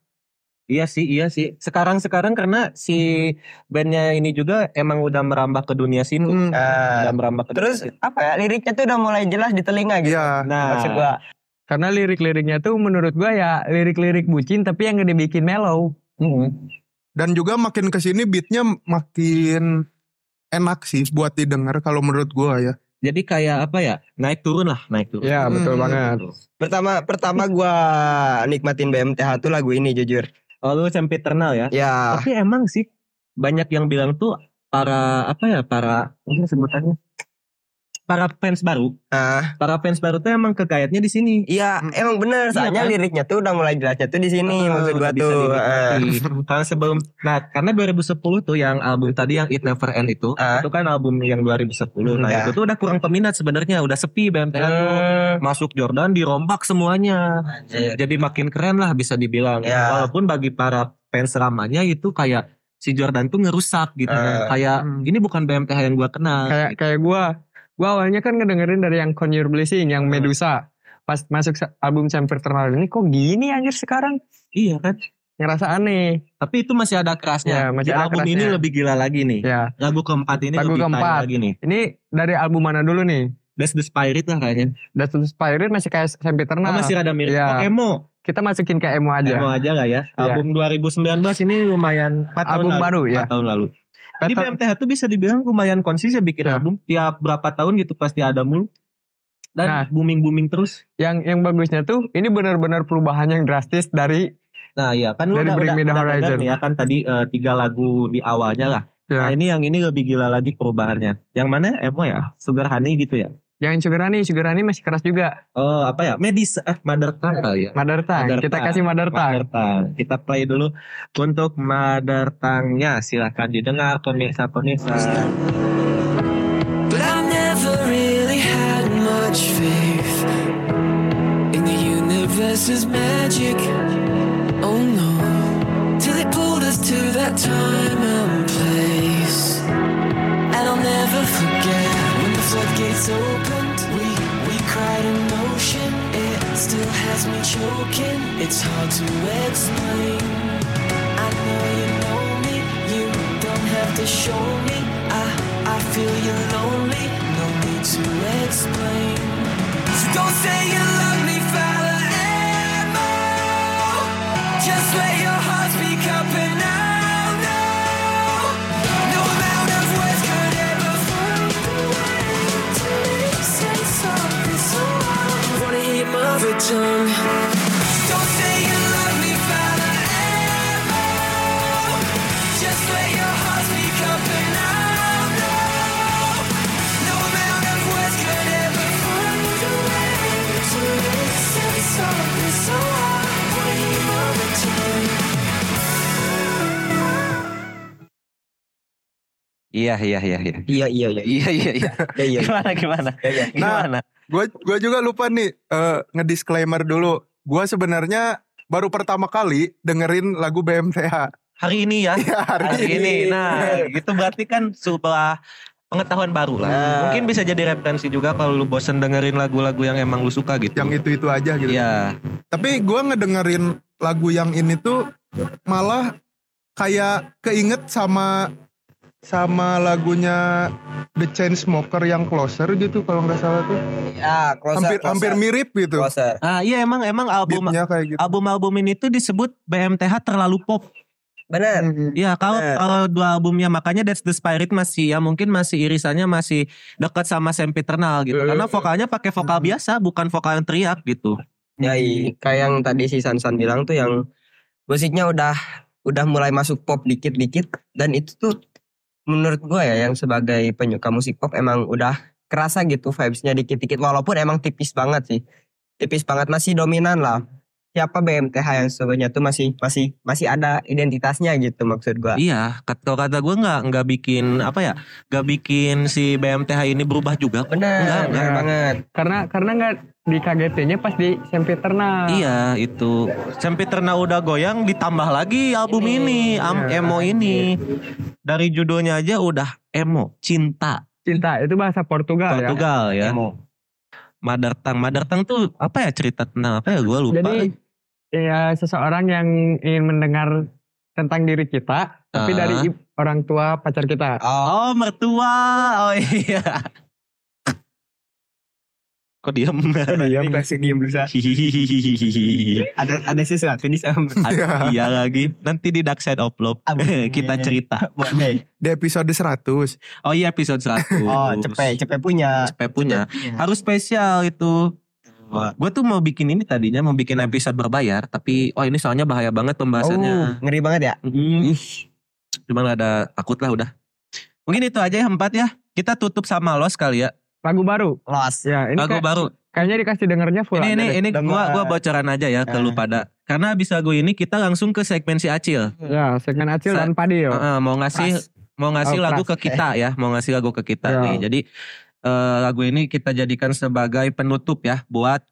Speaker 2: Iya sih, iya sih. Sekarang-sekarang karena si bandnya ini juga emang udah merambah ke dunia sini.
Speaker 3: Hmm,
Speaker 2: Udah
Speaker 5: Eh,
Speaker 2: merambah ke
Speaker 5: terus
Speaker 2: dunia situ.
Speaker 5: apa ya liriknya tuh udah mulai jelas di telinga gitu.
Speaker 3: Iya.
Speaker 2: Nah,
Speaker 5: Maksud gua
Speaker 1: Karena lirik-liriknya tuh menurut gua ya lirik-lirik bucin tapi yang dibikin mellow.
Speaker 3: Dan juga makin kesini beatnya makin enak sih buat didengar kalau menurut gua ya.
Speaker 2: jadi kayak apa ya? Naik turun lah, naik turun.
Speaker 1: Ya betul
Speaker 3: Hmm.
Speaker 1: banget.
Speaker 5: pertama pertama gua nikmatin BMTH tuh lagu ini jujur.
Speaker 2: Oh, lu sampai eternal ya.
Speaker 1: Ah.
Speaker 5: Ya.
Speaker 2: Tapi emang sih banyak yang bilang tuh para apa ya para mungkin sebutannya
Speaker 5: para fans baru,
Speaker 6: Ah.
Speaker 5: para fans baru tuh emang kekayatnya di sini.
Speaker 6: Iya, emang bener. Soalnya
Speaker 5: kan?
Speaker 6: liriknya tuh udah mulai jelasnya tuh di sini
Speaker 5: Oh,
Speaker 6: maksud gua
Speaker 5: udah bisa
Speaker 6: tuh. eh.
Speaker 5: dinikmati. Karena sebelum nah karena 2010 tuh yang album tadi yang It Never End itu
Speaker 6: Ah.
Speaker 5: itu kan album yang 2010. Nah,
Speaker 6: Ya.
Speaker 5: itu tuh udah kurang peminat sebenarnya, udah sepi BMTN tuh.
Speaker 6: Hmm,
Speaker 5: masuk Jordan dirombak semuanya.
Speaker 6: anjir.
Speaker 5: Iya, Jadi makin keren lah bisa dibilang.
Speaker 6: Ya.
Speaker 5: Walaupun bagi para fans ramanya itu kayak si Jordan tuh ngerusak gitu.
Speaker 6: Eh.
Speaker 5: Kayak
Speaker 1: Hmm.
Speaker 5: ini bukan BMTH yang gua kenal.
Speaker 1: kayak kayak gue gue awalnya kan ngedengerin dari yang Con Your Blessing yang
Speaker 5: Hmm.
Speaker 1: Medusa pas masuk sa- album Chamber Terkenal ini kok gini anjir sekarang
Speaker 5: Iya kan?
Speaker 1: ngerasa aneh
Speaker 5: Tapi itu masih ada
Speaker 1: Ya,
Speaker 5: kerasnya.
Speaker 1: masih
Speaker 5: Di
Speaker 1: ada
Speaker 5: album ini
Speaker 1: kerasnya.
Speaker 5: lebih gila lagi nih.
Speaker 1: ya
Speaker 5: Lagu keempat ini
Speaker 1: Lagu
Speaker 5: lebih keempat.
Speaker 1: keempat.
Speaker 5: lagi nih.
Speaker 1: ini dari album mana dulu nih
Speaker 5: That's the Spirit lah kayaknya.
Speaker 1: That's Inspired masih kayak Chamber
Speaker 5: Oh,
Speaker 1: Terkenal
Speaker 5: masih rada mirip.
Speaker 1: Iya.
Speaker 5: Oh, emo.
Speaker 1: kita masukin ke emo
Speaker 5: Emo
Speaker 1: aja
Speaker 5: aja lah ya.
Speaker 1: Iya.
Speaker 5: Album 2019 ini lumayan 4 tahun
Speaker 1: album
Speaker 5: lalu.
Speaker 1: baru ya
Speaker 5: Empat tahun lalu. Jadi
Speaker 1: Petal-
Speaker 5: BMTH tuh bisa dibilang lumayan konsisten bikin
Speaker 1: Ya.
Speaker 5: album tiap berapa tahun gitu pasti ada mulu. Dan
Speaker 1: Nah.
Speaker 5: booming-booming terus.
Speaker 1: yang yang bagusnya tuh ini benar-benar perubahan yang drastis dari
Speaker 5: Nah, iya kan lu
Speaker 1: Dari
Speaker 5: udah
Speaker 1: Bring
Speaker 5: udah,
Speaker 1: Me the
Speaker 5: udah
Speaker 1: Horizon.
Speaker 5: denger ya kan tadi eh, tiga lagu di awalnya lah.
Speaker 1: ya.
Speaker 5: Nah, ini yang ini lebih gila lagi perubahannya. Yang mana emo ya? Sugar Honey gitu ya.
Speaker 1: yang Sugar Honey Sugar Honey masih keras juga
Speaker 5: Oh, apa ya? Medis eh Mother Tongue kali ya.
Speaker 1: Mother Tongue
Speaker 5: Mother
Speaker 1: kita
Speaker 5: Tongue.
Speaker 1: kasih Mother Tongue
Speaker 5: Mother Tongue. Kita play dulu untuk Mother Tongue-nya. Silahkan didengar pemirsa-pemirsa.
Speaker 7: But I never really had much faith in the universe's magic. Oh no. Till they pulled us to that time and place. And I'll never forget when the floodgates opened. We we cried an ocean. It still has me choking. It's hard to explain. I know you know me. You don't have to show me. I I feel you're lonely. No need to explain. So don't say you love me, Father Emo. Just let your heart speak up and I'll know. No amount of words could ever find a way to make sense of this all. Wanna hear my return? Don't say you love me, Father Emo. Just let your heart speak up and I'll know. No amount of words could ever find a way to make sense of this all. Wanna hear my return?
Speaker 2: Iya iya iya iya.
Speaker 6: Iya iya iya.
Speaker 2: Iya iya iya.
Speaker 6: Iya iya.
Speaker 2: Gimana gimana?
Speaker 6: Iya, iya.
Speaker 2: Gimana?
Speaker 3: Gue gua juga lupa nih eh, ngedisclaimer dulu. Gue sebenarnya baru pertama kali dengerin lagu BMTH
Speaker 2: Hari ini ya.
Speaker 3: ya hari,
Speaker 2: Hari
Speaker 3: ini.
Speaker 2: ini. Nah, itu berarti kan setelah pengetahuan baru lah.
Speaker 3: Iya.
Speaker 6: Nah.
Speaker 2: Mungkin bisa jadi referensi juga kalau lu bosen dengerin lagu-lagu yang emang lu suka gitu.
Speaker 3: Yang itu-itu aja gitu.
Speaker 2: Iya.
Speaker 3: Tapi gue ngedengerin lagu yang ini tuh malah kayak keinget sama sama lagunya The Chainsmoker yang Closer gitu kalau nggak salah tuh.
Speaker 6: Ya, closer,
Speaker 3: hampir
Speaker 6: closer,
Speaker 3: hampir mirip gitu.
Speaker 6: closer.
Speaker 2: Ah iya emang emang album
Speaker 3: Beatnya kayak gitu.
Speaker 2: album-album ini tuh disebut BMTH terlalu pop.
Speaker 6: Bener.
Speaker 3: Hmm.
Speaker 2: Iya, kalau
Speaker 6: Eh.
Speaker 2: kalau dua albumnya makanya That's the Spirit masih ya mungkin masih irisannya masih dekat sama sempiternal gitu.
Speaker 3: Eh.
Speaker 2: Karena vokalnya pakai vokal biasa, bukan vokal yang teriak gitu.
Speaker 6: Ya, i- kayak yang tadi si Sansan bilang tuh yang musiknya udah udah mulai masuk pop dikit-dikit dan itu tuh menurut gua ya yang sebagai penyuka musik pop emang udah kerasa gitu vibesnya dikit-dikit walaupun emang tipis banget sih tipis banget masih dominan lah siapa BMTH yang sebenarnya tuh masih masih masih ada identitasnya gitu maksud gua
Speaker 2: Iya, kata kata gue nggak nggak bikin apa ya, nggak bikin si BMTH ini berubah juga. kok. Enggak,
Speaker 6: bener bener
Speaker 1: enggak.
Speaker 6: banget
Speaker 1: karena karena nggak dikagetinnya pas di Sempiternal
Speaker 2: Iya itu Sempiterna udah goyang ditambah lagi album ini, am-
Speaker 1: Iya.
Speaker 2: emo ini dari judulnya aja udah emo cinta
Speaker 1: cinta itu bahasa Portugal, ya
Speaker 2: Portugal ya.
Speaker 6: Emo.
Speaker 2: Mother Tongue, Mother Tongue tuh apa ya cerita tentang apa ya gue lupa.
Speaker 1: Jadi ya seseorang yang ingin mendengar tentang diri kita, tapi
Speaker 2: Ah.
Speaker 1: dari i- orang tua pacar kita.
Speaker 6: oh
Speaker 2: Oh mertua, oh iya. Kok diem?
Speaker 6: iya diem bisa
Speaker 2: [laughs] Hihihihihi.
Speaker 6: ada ada sesuatu di sama
Speaker 2: Aduh, Iya lagi. Nanti di Dark Side of Love
Speaker 6: Amin.
Speaker 2: [laughs] kita cerita.
Speaker 3: Di episode 100.
Speaker 2: Oh iya episode 1
Speaker 6: oh cepet cepet punya
Speaker 2: Cepet punya. Harus spesial itu. Gue tuh mau bikin ini tadinya mau bikin episode berbayar, tapi oh ini soalnya bahaya banget
Speaker 5: Oh,
Speaker 2: pembahasannya.
Speaker 6: ngeri banget ya
Speaker 2: Mm. Cuman ada takut lah udah. Mungkin itu aja ya empat ya. Kita tutup sama los kali ya.
Speaker 1: Lagu baru.
Speaker 6: Lost.
Speaker 1: Ya, ini
Speaker 2: Lagu
Speaker 1: kayak-
Speaker 2: baru.
Speaker 1: kayaknya dikasih dengernya full.
Speaker 2: Ini
Speaker 1: aja
Speaker 2: ini
Speaker 1: deh.
Speaker 2: ini gua
Speaker 6: Dengar.
Speaker 2: gua bocoran aja ya ke lu
Speaker 6: Eh.
Speaker 2: pada. Karena abis lagu ini kita langsung ke segmen si Acil.
Speaker 1: Ya, segmen Acil
Speaker 2: Sa-
Speaker 1: dan Padil.
Speaker 2: Heeh, mau ngasih mau ngasih
Speaker 1: Oh,
Speaker 2: lagu ke kita ya, mau ngasih lagu ke kita
Speaker 1: Ya.
Speaker 2: nih. Jadi eh, lagu ini kita jadikan sebagai penutup ya buat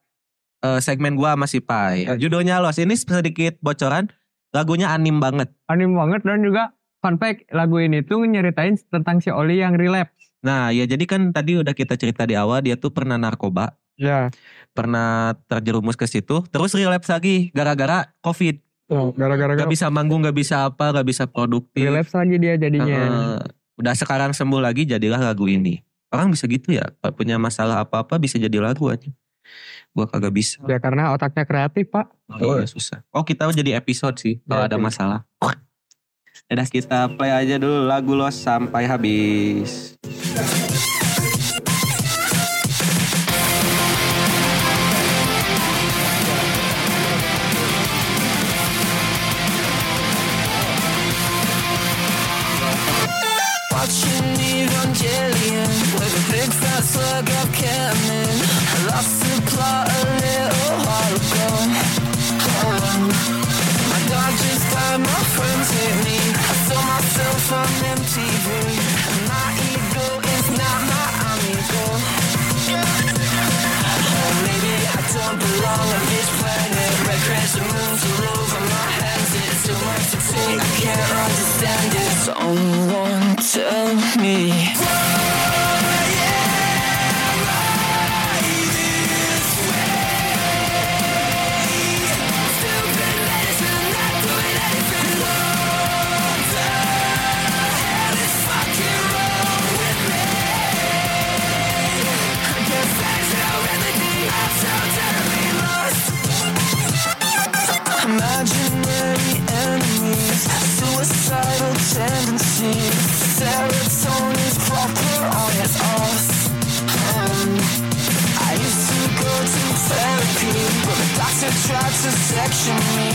Speaker 2: eh, segmen gua masih pai. Judulnya Los. Ini sedikit bocoran. Lagunya anim banget.
Speaker 1: Anim banget dan juga fun fact lagu ini tuh nyeritain tentang si Oli yang relapse.
Speaker 2: Nah, ya jadi kan tadi udah kita cerita di awal dia tuh pernah narkoba,
Speaker 1: Ya,
Speaker 2: pernah terjerumus ke situ, terus relapse lagi gara-gara Covid.
Speaker 1: gara-gara
Speaker 2: Gak bisa manggung, gak bisa apa, gak bisa produktif.
Speaker 1: relapse lagi dia jadinya.
Speaker 2: Heeh. udah sekarang sembuh lagi jadilah lagu ini. Orang bisa gitu ya, Pak, punya masalah apa-apa bisa jadi lagu aja. Gua kagak bisa.
Speaker 1: Ya karena otaknya kreatif, Pak.
Speaker 2: Oh, iya, susah. Oh, kita jadi episode sih kalau
Speaker 1: Ya,
Speaker 2: ada
Speaker 1: iya.
Speaker 2: masalah. Udah kita play aja dulu lagu los sampai habis.
Speaker 7: Watching Evangelion with a big fat slug of canon. I lost the plot a little while ago. Hold on. My dog just died, my friends hit me. I saw myself on MTV. And my ego is not my amigo. Oh, maybe I don't belong on this planet. Red crash the moon's all over my hands. It's too much to take. I can't understand it. Someone tell me. Imaginary enemies, suicidal tendencies, serotonin's proper on its off. Um, I used to go to therapy, but the doctor tried to section me.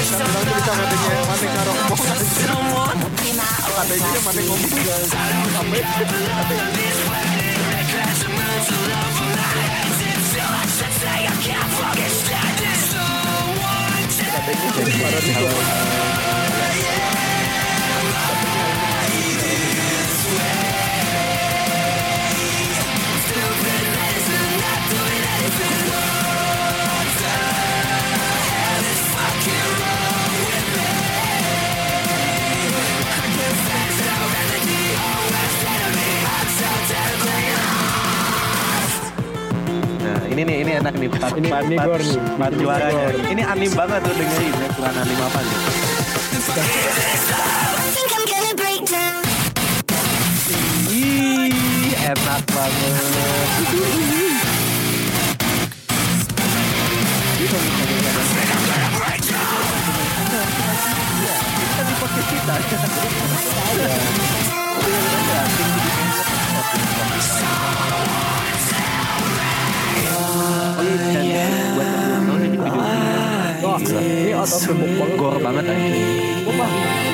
Speaker 7: It's a lot for someone to be my own because I don't know if I belong on this planet. I tried to move to love from my hands until I should say I can't fucking stand it. Someone tell me.
Speaker 2: Nah, ini nih, ini enak nih. Part, ini part, part, part juaranya. Ini anim banget tuh dengerin. ya, Bukan anim apa nih. Ih, enak banget. Gore banget aja.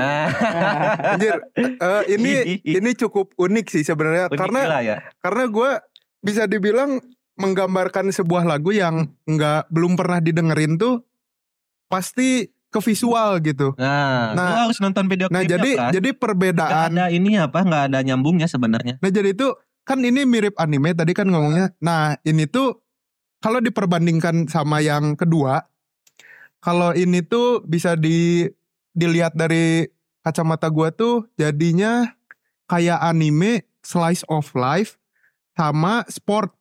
Speaker 3: Anjir, eh, ini ini cukup unik sih sebenarnya karena
Speaker 2: ya.
Speaker 3: karena gue bisa dibilang menggambarkan sebuah lagu yang nggak belum pernah didengerin tuh pasti ke visual gitu.
Speaker 2: Nah,
Speaker 3: Nah,
Speaker 2: lu harus nonton video
Speaker 3: Nah
Speaker 2: klipnya,
Speaker 3: jadi
Speaker 2: Pras.
Speaker 3: jadi
Speaker 2: Nggak
Speaker 3: perbedaan.
Speaker 2: ada ini apa? Nggak ada nyambungnya sebenarnya.
Speaker 3: Nah jadi itu kan ini mirip anime tadi kan ngomongnya. Nah ini tuh kalau diperbandingkan sama yang kedua, kalau ini tuh bisa di dilihat dari kacamata gua tuh jadinya kayak anime slice of life sama sport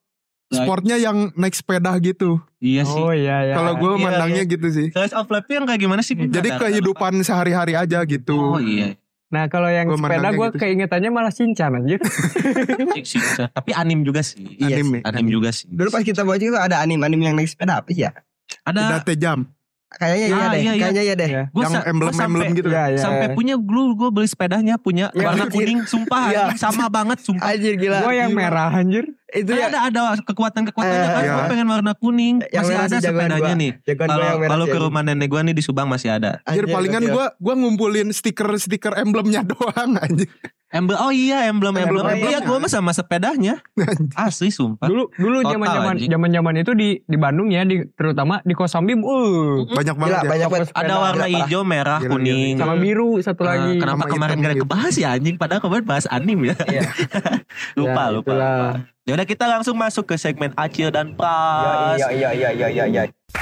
Speaker 2: Nah,
Speaker 3: sportnya yang naik sepeda gitu.
Speaker 2: Iya sih.
Speaker 1: Oh iya iya.
Speaker 3: Kalau
Speaker 2: Iya,
Speaker 3: gue mandangnya gitu sih.
Speaker 2: Slice of life yang kayak gimana sih?
Speaker 3: Jadi
Speaker 2: Ada-
Speaker 3: kehidupan sehari-hari aja
Speaker 2: nah. Oh
Speaker 3: gitu.
Speaker 2: iya.
Speaker 1: Nah kalau yang
Speaker 3: Gua
Speaker 1: sepeda
Speaker 3: mandangnya
Speaker 1: gue
Speaker 3: gitu sih.
Speaker 1: keingetannya malah Shinchan
Speaker 2: [laughs]
Speaker 1: anjir.
Speaker 2: Cik, cik, cik. Iya Tapi anim juga sih. Iya
Speaker 3: Anim
Speaker 2: sih,
Speaker 3: ya,
Speaker 2: anim juga sih.
Speaker 6: Dulu pas kita bocil tuh ada anim-anim yang naik sepeda apa sih ya?
Speaker 3: Udah
Speaker 2: Ada
Speaker 3: jam.
Speaker 6: Kayaknya iya
Speaker 2: Ah,
Speaker 6: deh,
Speaker 2: iya, iya.
Speaker 6: kayaknya iya deh.
Speaker 1: Iya.
Speaker 2: Nah, gua
Speaker 3: yang
Speaker 2: sa- gua
Speaker 3: emblem-emblem
Speaker 2: sampai-
Speaker 3: gitu kan.
Speaker 1: Iya iya.
Speaker 2: Sampai punya dulu gue beli sepedanya punya
Speaker 6: Ya, Iya,
Speaker 2: warna
Speaker 6: anjir.
Speaker 2: kuning, sumpah
Speaker 6: Iya.
Speaker 2: anjing, sama banget sumpah.
Speaker 6: Anjir gila.
Speaker 1: Gue yang
Speaker 6: Gila.
Speaker 2: Iya.
Speaker 1: merah anjir.
Speaker 6: [laughs] Itu
Speaker 2: Kan
Speaker 6: ya.
Speaker 2: ada ada kekuatan kekuatannya
Speaker 6: Eh,
Speaker 2: kan
Speaker 3: iya.
Speaker 2: gue pengen warna kuning
Speaker 6: Yang
Speaker 2: masih
Speaker 6: merah
Speaker 2: ada
Speaker 6: sih jagoan
Speaker 2: sepedanya
Speaker 6: gua.
Speaker 2: nih
Speaker 6: Jagoan gua
Speaker 2: kalau
Speaker 6: yang merah
Speaker 2: kalau
Speaker 6: sih,
Speaker 2: ke
Speaker 6: anjing.
Speaker 2: rumah nenek gue nih di Subang masih ada
Speaker 3: Anjir, palingan
Speaker 5: ya.
Speaker 6: gokil.
Speaker 3: gue gua ngumpulin stiker-stiker emblemnya [laughs] doang anjir.
Speaker 2: emblem oh iya emblem emblem,
Speaker 3: Emblem-
Speaker 2: iya gue mah sama
Speaker 6: [laughs]
Speaker 2: sepedanya asli sumpah
Speaker 1: Dulu dulu
Speaker 2: Total,
Speaker 1: zaman zaman
Speaker 2: anjing.
Speaker 1: zaman zaman itu di di Bandung ya di, terutama di Kosambi uh
Speaker 3: Banyak
Speaker 6: Gila,
Speaker 3: banget ya.
Speaker 6: banyak banget.
Speaker 2: ada warna
Speaker 6: Gila, parah.
Speaker 2: hijau merah
Speaker 3: Gila, gila.
Speaker 2: kuning
Speaker 1: sama biru satu
Speaker 2: Eh,
Speaker 1: lagi.
Speaker 2: kenapa
Speaker 3: Sama
Speaker 2: kemarin
Speaker 3: hitam
Speaker 2: gak
Speaker 3: gitu.
Speaker 2: kebahas ya anjing padahal kemarin bahas anim ya
Speaker 6: Iya.
Speaker 2: [laughs] lupa
Speaker 1: Ya,
Speaker 2: lupa
Speaker 1: itulah.
Speaker 2: ya udah kita langsung masuk ke segmen Acil dan Pras
Speaker 6: Iya, iya, iya, iya, iya, iya.